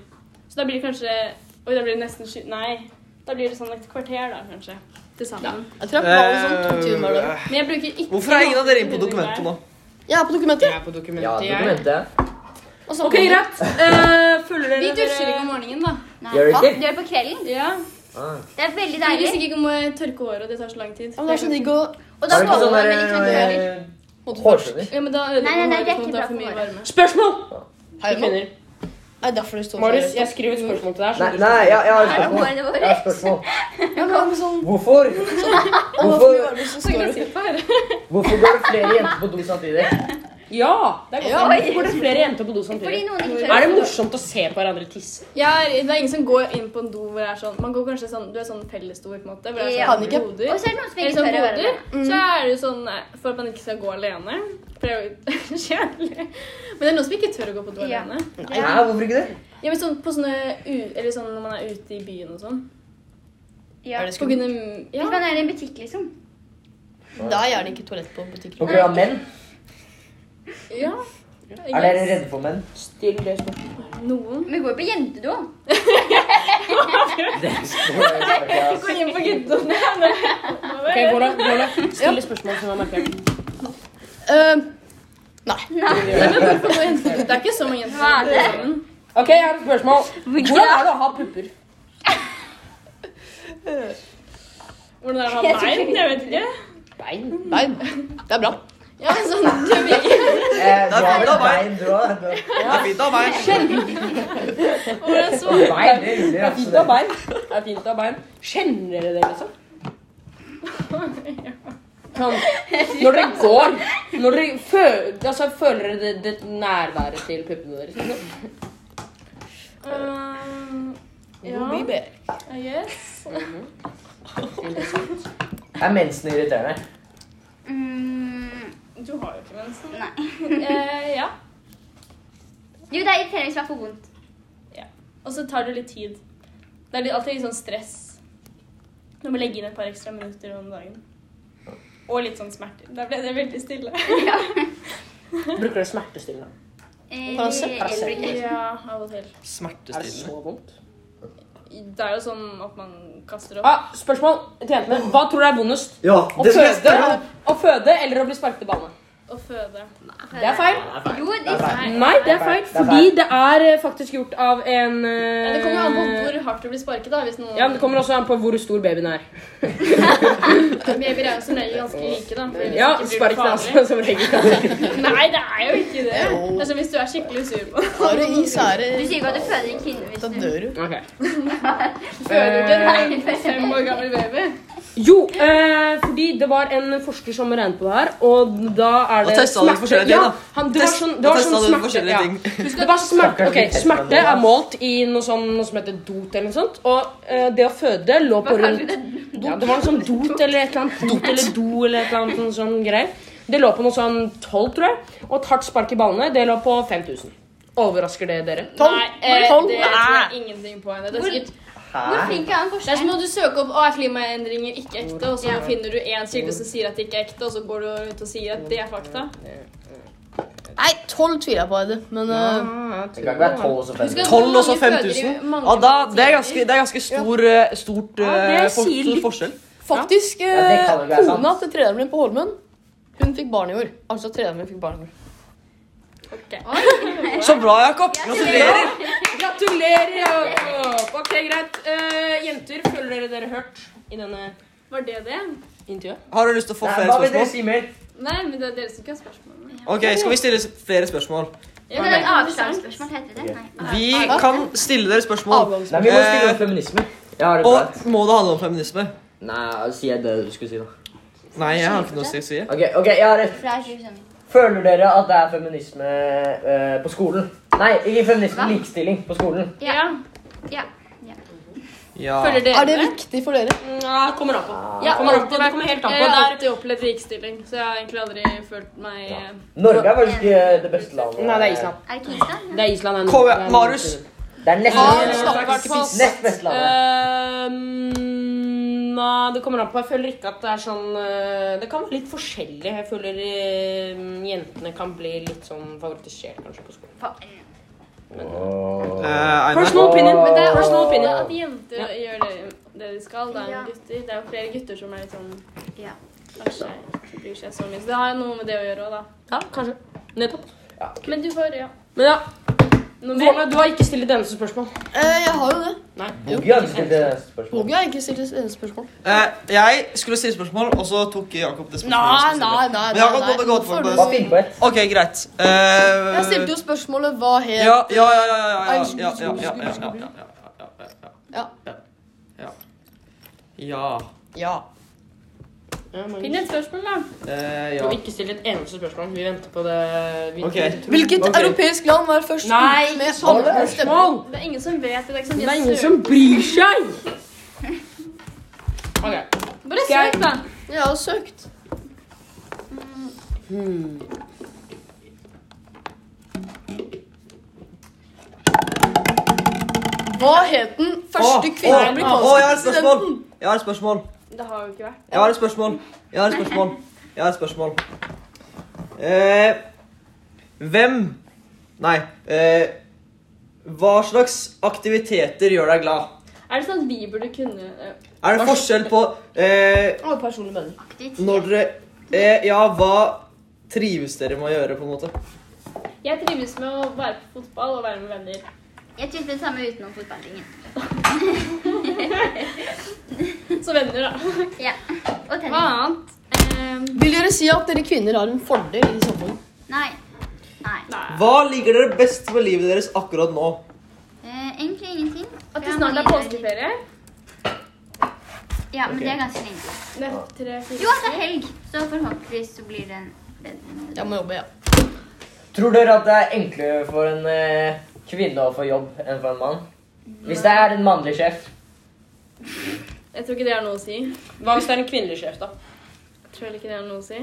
[SPEAKER 5] Så da blir det kanskje Oi, da blir det nesten sju Nei. Da blir det sånn et kvarter, da, kanskje. Til sammen.
[SPEAKER 3] Jeg tror jeg er på badet sånn to timer hver dag.
[SPEAKER 1] Eh,
[SPEAKER 5] Men jeg bruker ikke
[SPEAKER 1] Hvorfor er ingen av dere inne på dokumentet nå?
[SPEAKER 3] Jeg er på dokumentet.
[SPEAKER 2] Jeg er på dokumentet,
[SPEAKER 4] Ja,
[SPEAKER 2] jeg.
[SPEAKER 4] dokumentet.
[SPEAKER 3] Og så-
[SPEAKER 2] Ok, greit. Eh, følger dere
[SPEAKER 5] Vi dusjer ikke om morgenen, da.
[SPEAKER 6] Nei.
[SPEAKER 4] Gjør du
[SPEAKER 6] Hva?
[SPEAKER 4] ikke?
[SPEAKER 6] Gjør det på kvelden.
[SPEAKER 5] Ja.
[SPEAKER 4] Ah.
[SPEAKER 6] Det er veldig
[SPEAKER 5] Vi
[SPEAKER 6] deilig.
[SPEAKER 5] visste ikke om å tørke håret, og det tar så lang tid.
[SPEAKER 3] Ja, men Det er sånn så digg å
[SPEAKER 6] Og da
[SPEAKER 4] Har du ikke
[SPEAKER 6] våkner
[SPEAKER 4] sånn
[SPEAKER 6] man
[SPEAKER 4] der
[SPEAKER 6] med litt sånn
[SPEAKER 4] eh, hårskjønner?
[SPEAKER 5] Ja, men da
[SPEAKER 6] Nei, nei,
[SPEAKER 5] ødelegger
[SPEAKER 6] nei, det er
[SPEAKER 5] håret hvis
[SPEAKER 6] ikke
[SPEAKER 5] man tar
[SPEAKER 6] bra
[SPEAKER 5] for mye
[SPEAKER 6] for håret.
[SPEAKER 5] varme.
[SPEAKER 2] Spørsmål!
[SPEAKER 3] Herman,
[SPEAKER 2] Kvinner.
[SPEAKER 3] Nei, derfor det står
[SPEAKER 2] Marius,
[SPEAKER 3] seriøst.
[SPEAKER 2] jeg skriver et spørsmål til deg.
[SPEAKER 4] Nei,
[SPEAKER 2] som du-
[SPEAKER 4] nei jeg, jeg har et
[SPEAKER 6] Er det
[SPEAKER 4] spørsmål.
[SPEAKER 6] hårene våre?
[SPEAKER 4] Jeg har et spørsmål.
[SPEAKER 3] Ja, men sånn,
[SPEAKER 4] Hvorfor,
[SPEAKER 3] og da får vi
[SPEAKER 4] hvorfor,
[SPEAKER 3] være med, så
[SPEAKER 5] Så kan
[SPEAKER 3] står det.
[SPEAKER 5] jeg si på her.
[SPEAKER 4] hvorfor går det flere jenter på do samtidig?
[SPEAKER 2] Ja! Det er godt.
[SPEAKER 3] Ja,
[SPEAKER 2] Hvorfor går det flere jenter på do
[SPEAKER 6] Fordi
[SPEAKER 2] samtidig?
[SPEAKER 6] noen ikke tør
[SPEAKER 2] Er det morsomt å se på hverandre tisse?
[SPEAKER 5] Jeg er, det er ingen som går inn på en do hvor det er sånn Man går kanskje sånn Du er sånn fellesdo, på en måte. Hvor det er
[SPEAKER 6] Ja.
[SPEAKER 5] sånn
[SPEAKER 3] Panikk.
[SPEAKER 5] boder.
[SPEAKER 6] Og så er det noen som
[SPEAKER 5] Eller
[SPEAKER 6] ikke
[SPEAKER 5] sånn
[SPEAKER 6] tør å være
[SPEAKER 5] boder.
[SPEAKER 6] med.
[SPEAKER 5] Så er det jo sånn nei, for at man ikke skal gå alene. For det er jo [LAUGHS] kjedelig. Men det er noen som ikke tør å gå på do
[SPEAKER 6] Ja.
[SPEAKER 5] alene.
[SPEAKER 4] Nei, hvorfor ikke det?
[SPEAKER 5] Ja, men sånn på sånne u- Eller sånn når man er ute i byen og sånn.
[SPEAKER 6] Ja.
[SPEAKER 3] Er det
[SPEAKER 5] På
[SPEAKER 3] skummelt?
[SPEAKER 5] grunn av
[SPEAKER 6] Hvis
[SPEAKER 5] Ja.
[SPEAKER 6] man er i en butikk, liksom.
[SPEAKER 3] Da er gjerne ikke toalett på butikken.
[SPEAKER 4] På grunn av menn?
[SPEAKER 5] ja.
[SPEAKER 4] Er dere redde for
[SPEAKER 2] [LAUGHS]
[SPEAKER 4] menn?
[SPEAKER 2] Still det spørsmålet.
[SPEAKER 5] Noen.
[SPEAKER 6] Vi går på jentedo.
[SPEAKER 4] Det [LAUGHS] står jeg ikke altså.
[SPEAKER 5] Gå inn på guttedoene.
[SPEAKER 2] Ok, Våla, Våla, still det spørsmålet som er markert.
[SPEAKER 3] Eh,
[SPEAKER 5] Det er ikke så mange jenter.
[SPEAKER 6] Hva er det?
[SPEAKER 5] sammen.
[SPEAKER 2] Ok, jeg har et spørsmål. Hvordan er det å ha pupper?
[SPEAKER 5] Hvordan er det å ha bein? Jeg vet ikke.
[SPEAKER 2] Bein?
[SPEAKER 3] nei, det er bra.
[SPEAKER 5] Ja, men sånn, du vil ikke.
[SPEAKER 4] Eh, Du har
[SPEAKER 1] Da
[SPEAKER 4] vel
[SPEAKER 1] var
[SPEAKER 4] bein, du òg?
[SPEAKER 1] Det er fint av meg.
[SPEAKER 5] [LAUGHS] Hvordan så
[SPEAKER 4] Bein, det
[SPEAKER 2] Det
[SPEAKER 4] ruller
[SPEAKER 2] er fint å ha
[SPEAKER 4] altså.
[SPEAKER 2] bein. Det er fint å ha bein. Kjenner dere det, liksom? Sånn, når dere går når dere føler, altså, føler dere det, det nærværet til puppene deres? liksom?
[SPEAKER 5] Um,
[SPEAKER 3] We'll
[SPEAKER 5] Ja, Uh,
[SPEAKER 3] be back.
[SPEAKER 5] I guess.
[SPEAKER 4] Er mensen irriterende?
[SPEAKER 6] Mm,
[SPEAKER 5] Du har jo ikke mensen.
[SPEAKER 6] nei.
[SPEAKER 5] [LAUGHS] Eh, ja.
[SPEAKER 6] Jo, det er irriterende hvis det er for vondt. [LAUGHS]
[SPEAKER 5] Og så tar det litt tid. Det er litt- alltid litt sånn stress. Du må legge inn et par ekstra minutter om dagen. Og litt sånn smerter. Da ble det veldig stille.
[SPEAKER 2] [LAUGHS] Bruker dere smertestillende?
[SPEAKER 6] Eh,
[SPEAKER 3] Paracet-
[SPEAKER 6] de-
[SPEAKER 2] Paracet.
[SPEAKER 6] elbringer.
[SPEAKER 5] Ja, av og
[SPEAKER 2] Er
[SPEAKER 5] til.
[SPEAKER 2] det
[SPEAKER 1] Smertestillende.
[SPEAKER 2] så vondt?
[SPEAKER 5] Det er jo sånn at man kaster opp.
[SPEAKER 2] Ah, spørsmål til jentene. Hva tror dere er vondest?
[SPEAKER 4] Ja,
[SPEAKER 2] Å føde, å føde eller å bli sparket i ballene?
[SPEAKER 5] Å føde.
[SPEAKER 2] Det er feil.
[SPEAKER 6] Jo, det er feil.
[SPEAKER 2] Nei, det er feil,
[SPEAKER 4] Det er feil.
[SPEAKER 2] fordi det er eh, faktisk gjort av en
[SPEAKER 5] Men det kommer jo an på
[SPEAKER 2] eh,
[SPEAKER 5] hvor hardt du blir sparket, da. Hvis noen
[SPEAKER 2] Ja, men det kommer også an på hvor stor babyen er.
[SPEAKER 5] babyer er jo som regel ganske like, da. for hvis
[SPEAKER 2] Ja,
[SPEAKER 5] ikke blir det
[SPEAKER 2] spark den
[SPEAKER 5] farlig.
[SPEAKER 2] altså [LAUGHS] som regel.
[SPEAKER 5] Nei, det er jo ikke det. Det er som hvis du er skikkelig sur på noen.
[SPEAKER 3] Har du is, så er
[SPEAKER 6] Du
[SPEAKER 3] det
[SPEAKER 6] sier ikke at du føder en kvinne hvis
[SPEAKER 3] Da
[SPEAKER 6] [LAUGHS] du
[SPEAKER 3] dør du.
[SPEAKER 2] Ok.
[SPEAKER 5] Føler du ikke
[SPEAKER 6] Nei,
[SPEAKER 5] en fem år gammel baby?
[SPEAKER 2] Jo, eh, fordi det var en forsker som regnet på det her, og da er
[SPEAKER 1] Da
[SPEAKER 2] det
[SPEAKER 1] testa dere
[SPEAKER 2] smerte-
[SPEAKER 1] forskjellige ting, da.
[SPEAKER 2] Ja, han, det var
[SPEAKER 1] Test-
[SPEAKER 2] sånn, det
[SPEAKER 1] da
[SPEAKER 2] var
[SPEAKER 1] testa
[SPEAKER 2] sånn
[SPEAKER 1] dere
[SPEAKER 2] smerte.
[SPEAKER 1] forskjellige
[SPEAKER 2] ja.
[SPEAKER 1] ting.
[SPEAKER 2] Husk, Det var smerte, ok, smerte er målt i noe, sånn, noe som heter dot eller noe sånt, og eh, det å føde lå på rundt ja, Det var noe sånn dot eller et eller annet, dot eller do eller et eller annet sånn, sånn greier. Det lå på noe sånn 12, tror jeg, og et hardt spark i ballene, det lå på 5000. Overrasker det dere?
[SPEAKER 5] Nei, eh,
[SPEAKER 3] Tolv?
[SPEAKER 5] det tror jeg ingenting på henne. Det er
[SPEAKER 6] Hvor-
[SPEAKER 5] sikkert
[SPEAKER 6] Hvor
[SPEAKER 4] Hæ?
[SPEAKER 6] flink er han
[SPEAKER 5] Det er som
[SPEAKER 6] forskeren?
[SPEAKER 5] om du søker opp «Å, er klimaendringer ikke ekte, og så finner du én kilde som sier at det ikke er ekte, og så går du ut og sier at det er fakta.
[SPEAKER 3] Nei, tolv tviler jeg på, Eide. Men eh,
[SPEAKER 4] Det kan ikke være tolv og så fem.
[SPEAKER 5] Husk at
[SPEAKER 1] 12 og så
[SPEAKER 5] mange føder i
[SPEAKER 1] 5000.
[SPEAKER 5] mange
[SPEAKER 1] Ja, da, det er
[SPEAKER 5] tider.
[SPEAKER 1] ganske, det er ganske stor, eh, stort
[SPEAKER 2] Ja,
[SPEAKER 1] eh,
[SPEAKER 2] det
[SPEAKER 1] for,
[SPEAKER 2] sier litt.
[SPEAKER 1] forskjell.
[SPEAKER 3] faktisk
[SPEAKER 4] Ja, det kan jo
[SPEAKER 3] eh,
[SPEAKER 4] være sant.
[SPEAKER 3] Kona til treneren min på Holmen, hun fikk barn i år. Altså treneren min fikk barn i år.
[SPEAKER 5] Ok.
[SPEAKER 1] Så bra, Jakob. Gratulerer.
[SPEAKER 2] Gratulerer, Jakob! Ok, greit. Eh, jenter, føler dere dere hørt i denne
[SPEAKER 5] Var det det?
[SPEAKER 2] intervjuet?
[SPEAKER 1] Har du lyst til å få
[SPEAKER 4] Nei,
[SPEAKER 1] flere
[SPEAKER 4] Hva vil dere
[SPEAKER 1] spørsmål?
[SPEAKER 4] si mer?
[SPEAKER 5] Nei, men det er dere som ikke har spørsmål.
[SPEAKER 1] Ok, Skal vi stille s- flere spørsmål?
[SPEAKER 5] Ja,
[SPEAKER 6] Det
[SPEAKER 5] men
[SPEAKER 6] er et
[SPEAKER 5] interessant.
[SPEAKER 6] avslagsspørsmål, heter det? Nei.
[SPEAKER 1] Vi kan stille dere spørsmål.
[SPEAKER 4] Nei,
[SPEAKER 3] Avgangsmann.
[SPEAKER 4] Vi må stille
[SPEAKER 1] Eh,
[SPEAKER 4] om feminisme. Jeg har et
[SPEAKER 1] Og
[SPEAKER 4] bra.
[SPEAKER 1] må det handle om feminisme?
[SPEAKER 4] Nei, sier jeg det du skulle si, da?
[SPEAKER 1] Nei, jeg har ikke noe å si.
[SPEAKER 4] Ok, ok, jeg har et.
[SPEAKER 6] For det er sånn- sju sønner.
[SPEAKER 4] Føler dere at det er feminisme eh, på skolen? Nei, ikke feminisme,
[SPEAKER 6] Hva?
[SPEAKER 4] likestilling på skolen.
[SPEAKER 5] Ja.
[SPEAKER 1] Ja.
[SPEAKER 5] Føler dere
[SPEAKER 3] Er det viktig for dere?
[SPEAKER 2] Ja, kommer an på.
[SPEAKER 5] Ja,
[SPEAKER 2] kommer an på. Det kommer helt an på.
[SPEAKER 5] Jeg har
[SPEAKER 2] Det
[SPEAKER 5] alltid opplevd likestilling, så jeg har egentlig aldri følt meg eh,
[SPEAKER 4] Norge er faktisk eh, det beste landet.
[SPEAKER 2] er Nei, det er Island.
[SPEAKER 6] Er det Kristian?
[SPEAKER 2] Det er Island. det er
[SPEAKER 1] Kom
[SPEAKER 2] Nord-
[SPEAKER 1] igjen,
[SPEAKER 2] det er
[SPEAKER 1] Marius.
[SPEAKER 2] Nord-
[SPEAKER 4] Det er nesten
[SPEAKER 3] Ah,
[SPEAKER 2] Eh,
[SPEAKER 3] snakker
[SPEAKER 2] i hvert
[SPEAKER 3] ikke
[SPEAKER 2] fall-
[SPEAKER 3] piss.
[SPEAKER 4] Nest Vestlandet.
[SPEAKER 2] Ehm, Nei, det kommer an på. Jeg føler ikke at det er sånn eh, Det kan være litt forskjellig. Jeg føler eh, jentene kan bli litt sånn favorittisert kanskje på skolen.
[SPEAKER 6] Faen.
[SPEAKER 1] Eh, Einar.
[SPEAKER 2] Personal opinion.
[SPEAKER 4] Men det er-
[SPEAKER 2] personal opinion.
[SPEAKER 5] At jenter gjør det, det de skal, det er jo
[SPEAKER 6] Ja.
[SPEAKER 5] gutter. Det er jo flere gutter som er litt sånn
[SPEAKER 6] Ja.
[SPEAKER 5] Kanskje ikke bryr seg så mye. Så det har jo noe med det å gjøre òg, da.
[SPEAKER 2] Ja, kanskje. Nettopp.
[SPEAKER 5] Men du får Ja.
[SPEAKER 2] Men ja.
[SPEAKER 5] Noe mer?
[SPEAKER 2] Våle, du har ikke stilt et eneste spørsmål.
[SPEAKER 3] Eh, jeg har jo det.
[SPEAKER 2] Nei.
[SPEAKER 4] Boogie hadde stilt det neste spørsmålet.
[SPEAKER 3] Boogie har ikke stilt et eneste spørsmål.
[SPEAKER 1] Eh, jeg skulle stille spørsmål, og så tok Jakob det spørsmålet. jeg skulle stille.
[SPEAKER 3] nei.
[SPEAKER 1] Men jeg kan godt gå for
[SPEAKER 3] Hvorfor
[SPEAKER 1] det.
[SPEAKER 4] Bare finn på et.
[SPEAKER 1] OK, greit. Eh,
[SPEAKER 3] Jeg stilte jo spørsmålet hva het
[SPEAKER 1] ja, ja, ja, ja, ja, ja, ja, ja, ja, ja, ja, ja, ja, ja, ja.
[SPEAKER 3] Ja.
[SPEAKER 1] Ja. Ja.
[SPEAKER 3] Ja.
[SPEAKER 2] Ja, Magnus.
[SPEAKER 5] Finn et spørsmål, da.
[SPEAKER 1] Eh,
[SPEAKER 2] Du
[SPEAKER 1] ja.
[SPEAKER 2] har ikke stilt et eneste spørsmål. Vi venter på det. Vi
[SPEAKER 1] Ok.
[SPEAKER 3] Hvilket
[SPEAKER 1] Ok.
[SPEAKER 3] europeisk land var først
[SPEAKER 2] Nei,
[SPEAKER 3] ute med
[SPEAKER 4] sånne
[SPEAKER 3] samlet stemme?
[SPEAKER 2] Spørsmål!
[SPEAKER 5] Det er ingen som vet. Det er ikke sånn
[SPEAKER 2] Det
[SPEAKER 5] de
[SPEAKER 2] er
[SPEAKER 5] har
[SPEAKER 2] ingen
[SPEAKER 5] søkt.
[SPEAKER 2] som bryr seg! Ok.
[SPEAKER 5] Bare
[SPEAKER 2] Skal jeg-
[SPEAKER 5] søk, da.
[SPEAKER 3] Jeg har søkt. Hmm. Hva het den første
[SPEAKER 1] Å,
[SPEAKER 3] kvinnelige
[SPEAKER 1] å, å, jeg har et
[SPEAKER 3] amerikanske
[SPEAKER 1] spørsmål!
[SPEAKER 3] presidenten?
[SPEAKER 1] Jeg har et spørsmål.
[SPEAKER 5] Det har jo ikke vært.
[SPEAKER 1] Jeg har et spørsmål. Jeg har et spørsmål. Jeg har et spørsmål. Eh, hvem Nei. Eh, hva slags aktiviteter gjør deg glad?
[SPEAKER 5] Er det sånn at vi burde kunne eh,
[SPEAKER 1] Er det forskjell på eh,
[SPEAKER 3] Å, personlig mening.
[SPEAKER 1] når dere eh, Ja, hva trives dere med å gjøre, på en måte?
[SPEAKER 5] Jeg trives med å være på fotball og være med venner. [LAUGHS]
[SPEAKER 6] Jeg tylte det samme utenom fotballringen.
[SPEAKER 5] Så venner, da.
[SPEAKER 6] Ja. Og
[SPEAKER 5] Hva
[SPEAKER 6] tennis.
[SPEAKER 5] annet? Ehm,
[SPEAKER 3] Vil dere si at dere kvinner har en fordel i samfunnet?
[SPEAKER 6] Nei. Nei.
[SPEAKER 5] nei.
[SPEAKER 1] Hva liker dere best med livet deres akkurat nå?
[SPEAKER 6] Eh, egentlig ingenting.
[SPEAKER 5] At
[SPEAKER 6] For
[SPEAKER 5] det
[SPEAKER 6] jeg
[SPEAKER 5] snart er
[SPEAKER 6] mangler-
[SPEAKER 5] påskeferie.
[SPEAKER 6] Ja, men det er ganske lenge.
[SPEAKER 5] Nett tre, fire
[SPEAKER 6] Jo, altså helg. Så forhåpentligvis så blir det en bedre
[SPEAKER 3] Jeg må jobbe, ja.
[SPEAKER 4] Tror dere at det er enklere for en eh, kvinne å få jobb enn for en mann? Hvis det er en mannlig sjef.
[SPEAKER 5] Jeg tror ikke det har noe å si. Jeg
[SPEAKER 2] Hva hvis det er en kvinnelig sjef, da?
[SPEAKER 5] tror heller ikke det har noe å si.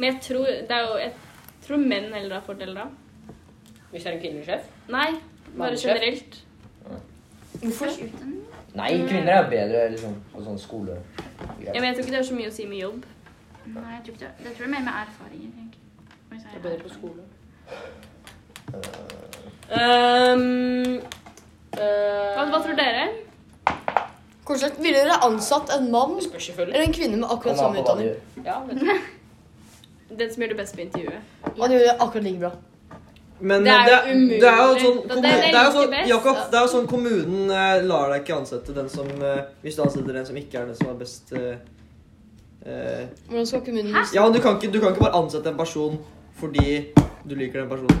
[SPEAKER 5] Men jeg tror, det er jo, jeg tror menn heller har fordeler da.
[SPEAKER 2] Hvis det er en kvinnelig sjef?
[SPEAKER 5] Nei, bare
[SPEAKER 2] Mannskjef?
[SPEAKER 5] generelt.
[SPEAKER 6] utdanning.
[SPEAKER 4] Nei, kvinner er bedre liksom, på sånn skole.
[SPEAKER 5] Ja, men jeg tror ikke det har så mye å si med jobb.
[SPEAKER 6] Nei, jeg tror ikke det. Jeg tror det er mer med erfaringer. egentlig. Oi, så er
[SPEAKER 2] Det er
[SPEAKER 6] jeg
[SPEAKER 2] bedre
[SPEAKER 6] her.
[SPEAKER 2] på skole. Ehm, eh,
[SPEAKER 5] Hva, hva tror dere?
[SPEAKER 3] Kort sagt, ville dere ansatt en mann
[SPEAKER 2] Det spørs selvfølgelig.
[SPEAKER 3] eller en kvinne med akkurat
[SPEAKER 4] Kommer
[SPEAKER 3] samme
[SPEAKER 4] an på hva
[SPEAKER 3] utdanning?
[SPEAKER 4] de gjør.
[SPEAKER 2] Ja, vet du.
[SPEAKER 5] Den som gjør det best på intervjuet.
[SPEAKER 3] Han gjør det akkurat like bra.
[SPEAKER 1] Men
[SPEAKER 5] Det er jo umulig.
[SPEAKER 1] det er jo sånn,
[SPEAKER 5] Det-
[SPEAKER 1] kommu-
[SPEAKER 5] det er
[SPEAKER 1] det er jo
[SPEAKER 5] like
[SPEAKER 1] sånn
[SPEAKER 5] best.
[SPEAKER 1] Jakob, det er jo sånn kommunen eh, lar deg ikke ansette den som eh, Hvis du ansetter den som ikke er den som er best eh, eh,
[SPEAKER 3] Hvordan skal kommunen
[SPEAKER 1] Ja, men du kan, ikke, du kan ikke bare ansette en person fordi du liker den personen.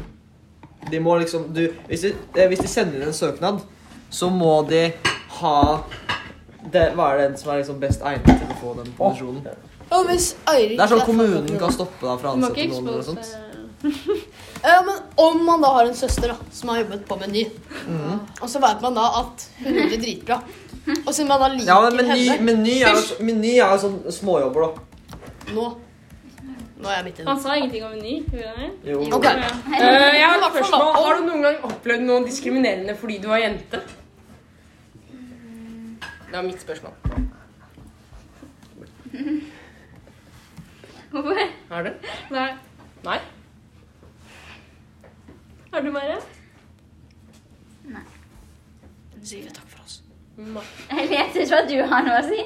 [SPEAKER 1] De må liksom du, hvis, de, eh, hvis de sender en søknad, så må de ha det, Hva er den som er liksom best egnet til å få den posisjonen?
[SPEAKER 3] Ja, hvis Eirik
[SPEAKER 1] Det er sånn
[SPEAKER 3] fra
[SPEAKER 1] kommunen
[SPEAKER 3] Folkeparti,
[SPEAKER 1] kan stoppe deg fra å
[SPEAKER 5] Du må
[SPEAKER 1] ansette
[SPEAKER 5] ikke
[SPEAKER 1] noen eller noe sånt.
[SPEAKER 5] expose eh,
[SPEAKER 3] Ja, men om man da har en søster da, som har jobbet på Meny,
[SPEAKER 1] Mm.
[SPEAKER 3] og så vet man da at hun gjør det dritbra, og siden man da liker
[SPEAKER 1] Ja, men meny,
[SPEAKER 3] henne
[SPEAKER 1] meny er jo meny er jo sånn småjobber, da.
[SPEAKER 3] nå Nå er jeg midt i det.
[SPEAKER 5] Han sa ingenting om meny. Gjorde han det?
[SPEAKER 1] Jo.
[SPEAKER 3] Ok.
[SPEAKER 2] Eh, jeg har et spørsmål. Har du noen gang opplevd noe diskriminerende fordi du var jente? Det var mitt spørsmål.
[SPEAKER 5] Hvorfor?
[SPEAKER 2] Er det?
[SPEAKER 5] Nei.
[SPEAKER 2] Nei?
[SPEAKER 5] Har du Mare?
[SPEAKER 3] Sier vi takk for oss.
[SPEAKER 6] Jeg leter så du har noe å si.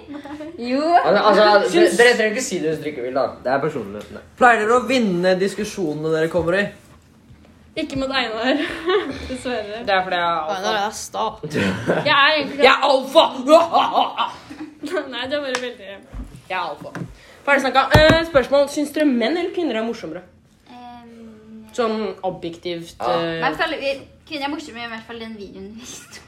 [SPEAKER 6] Jo.
[SPEAKER 4] Altså, altså, dere dere trenger ikke si det hvis dere ikke vil. da. Det er personlig. Nei.
[SPEAKER 1] Pleier dere å vinne diskusjonene dere kommer i?
[SPEAKER 5] Ikke mot Einar. [LAUGHS] Dessverre.
[SPEAKER 2] Det er fordi jeg er
[SPEAKER 3] Einar
[SPEAKER 2] alfa.
[SPEAKER 3] er sta.
[SPEAKER 5] Jeg er egentlig
[SPEAKER 2] Jeg er alfa!
[SPEAKER 5] [LAUGHS]
[SPEAKER 2] [LAUGHS]
[SPEAKER 5] Nei, du er bare veldig
[SPEAKER 2] Jeg er alfa. Ferdig snakka. Eh, spørsmål. Syns dere menn eller kvinner er morsommere?
[SPEAKER 6] Ehm,
[SPEAKER 2] Sånn objektivt
[SPEAKER 4] Ja.
[SPEAKER 6] i
[SPEAKER 2] eh,
[SPEAKER 6] hvert fall, vi- Kvinner er morsomme, i hvert fall den videoen vi viste.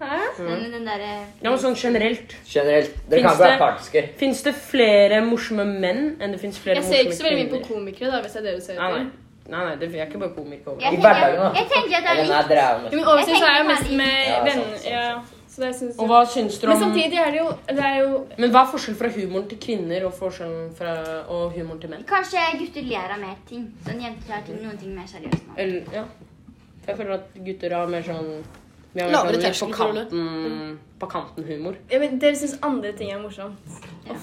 [SPEAKER 5] Hæ?
[SPEAKER 2] Mm.
[SPEAKER 6] Den, eh, den derre
[SPEAKER 2] Ja, men sånn generelt.
[SPEAKER 4] Generelt. Dere
[SPEAKER 2] Finnes
[SPEAKER 4] kan ikke være
[SPEAKER 2] det-
[SPEAKER 4] partiske.
[SPEAKER 2] Fins det flere morsomme menn enn det fins flere
[SPEAKER 5] Jeg ser ikke så
[SPEAKER 2] morsomme
[SPEAKER 5] veldig mye på
[SPEAKER 2] kvinner?
[SPEAKER 5] komikere, da, hvis det er det du ser
[SPEAKER 2] Nei,
[SPEAKER 5] etter.
[SPEAKER 2] nei. nei, nei det, jeg er ikke bare komiker.
[SPEAKER 6] Jeg
[SPEAKER 4] I
[SPEAKER 6] tenker-
[SPEAKER 4] hverdagen, da.
[SPEAKER 6] Jeg tenker at det er
[SPEAKER 4] Eller nei,
[SPEAKER 6] litt
[SPEAKER 4] dere er jo
[SPEAKER 5] Ja,
[SPEAKER 4] nesten
[SPEAKER 5] men oversett så er jeg jo
[SPEAKER 6] Jeg
[SPEAKER 5] mest
[SPEAKER 6] tenker
[SPEAKER 5] med
[SPEAKER 4] Ja, sant, sant,
[SPEAKER 5] venner.
[SPEAKER 4] sant.
[SPEAKER 5] Ja, så det
[SPEAKER 2] Og
[SPEAKER 5] synes jeg.
[SPEAKER 2] hva syns dere
[SPEAKER 5] Men
[SPEAKER 2] om
[SPEAKER 5] samtidig er det jo Det er jo
[SPEAKER 2] Men hva er forskjellen fra humoren til kvinner og forskjellen fra og humoren til menn?
[SPEAKER 6] Kanskje gutter ler av mer ting. Sånn jenter tar ting, noen ting mer seriøst nå.
[SPEAKER 2] Eller, ja. For jeg føler at gutter har mer sånn vi har mer
[SPEAKER 3] Lavere
[SPEAKER 2] sånn litt på
[SPEAKER 3] terskel, tror du?
[SPEAKER 2] kanten, på kanten humor.
[SPEAKER 5] ja, men Dere syns andre ting er morsomt.
[SPEAKER 2] Ja.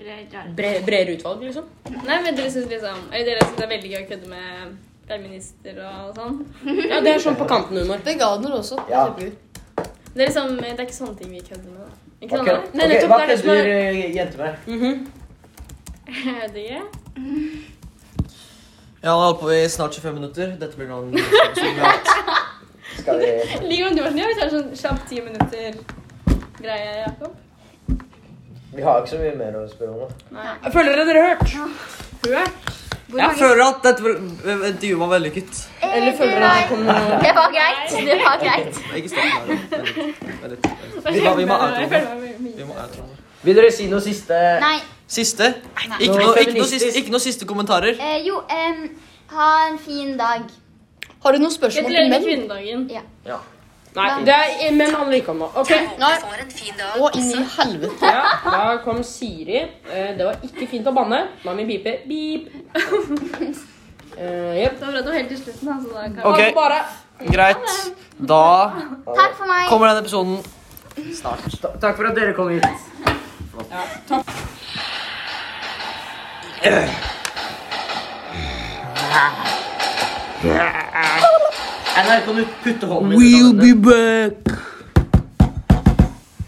[SPEAKER 6] Eller rare.
[SPEAKER 2] Bre, bredere utvalg, liksom.
[SPEAKER 5] Nei, men dere syns liksom Eller dere syns det er veldig gøy å kødde med feminister og sånn.
[SPEAKER 2] Ja, Det er sånn på kanten-humor.
[SPEAKER 3] Veganer også. det er
[SPEAKER 4] Ja.
[SPEAKER 3] kjempegøy.
[SPEAKER 5] Det er liksom Det er ikke sånne ting vi kødder med. da. Ikke
[SPEAKER 4] Ok,
[SPEAKER 5] sånn,
[SPEAKER 4] ok,
[SPEAKER 2] Nei, nettopp,
[SPEAKER 4] Hva
[SPEAKER 2] det er det som
[SPEAKER 4] kødder
[SPEAKER 5] [LAUGHS]
[SPEAKER 4] eh, jenter med?
[SPEAKER 2] Mhm.
[SPEAKER 5] da? Jeg vet ikke.
[SPEAKER 1] Ja, han har holdt på i snart 25 minutter. Dette blir [LAUGHS] noen Nei,
[SPEAKER 4] Skal vi
[SPEAKER 5] Liker om du var sånn, ja, vi tar sånn kjapt ti minutter-greie, Jakob.
[SPEAKER 4] Vi har ikke så mye mer å spørre om. da.
[SPEAKER 5] Nei.
[SPEAKER 2] Jeg føler dere har hørt. Hørt?
[SPEAKER 6] Hvor
[SPEAKER 1] Jeg føler at dette vel- eh, intervjuet var vellykket.
[SPEAKER 2] Eller føler dere det kommer noe
[SPEAKER 6] Eh, Det var greit. Det var
[SPEAKER 2] [LAUGHS]
[SPEAKER 6] greit.
[SPEAKER 1] Ikke stopp der. Vent litt, vent litt. Vi må- Vi må
[SPEAKER 5] [LAUGHS] Jeg
[SPEAKER 1] outroen.
[SPEAKER 5] føler meg mye.
[SPEAKER 1] Vi må outroen.
[SPEAKER 4] Vil dere si noe siste?
[SPEAKER 6] Nei.
[SPEAKER 1] Siste.
[SPEAKER 6] Nei.
[SPEAKER 1] Ikke noe, ikke, noe siste,
[SPEAKER 4] Feministisk.
[SPEAKER 1] ikke noe siste kommentarer.
[SPEAKER 6] Eh, jo, em, ha en fin dag.
[SPEAKER 3] Har du noen spørsmål
[SPEAKER 5] Gratulerer
[SPEAKER 3] til
[SPEAKER 5] med
[SPEAKER 3] menn?
[SPEAKER 5] kvinnedagen.
[SPEAKER 4] Ja.
[SPEAKER 2] Nei, det er, men han vil ikke om det. Ok,
[SPEAKER 3] Nei.
[SPEAKER 7] får en fin dag.
[SPEAKER 3] Å, inn i helvete.
[SPEAKER 2] ja, Da kom Siri. Eh, Det var ikke fint å banne. Mami piper. Beep. Eh, Jepp.
[SPEAKER 5] Det var bra at det var helt til slutten. Altså, da kan...
[SPEAKER 1] Ok,
[SPEAKER 2] Bare
[SPEAKER 1] greit. Da
[SPEAKER 6] Takk for meg.
[SPEAKER 1] kommer denne episoden snart.
[SPEAKER 4] Ta- Takk for at dere kom hit. NRK Nytt putter hånden min i
[SPEAKER 1] back.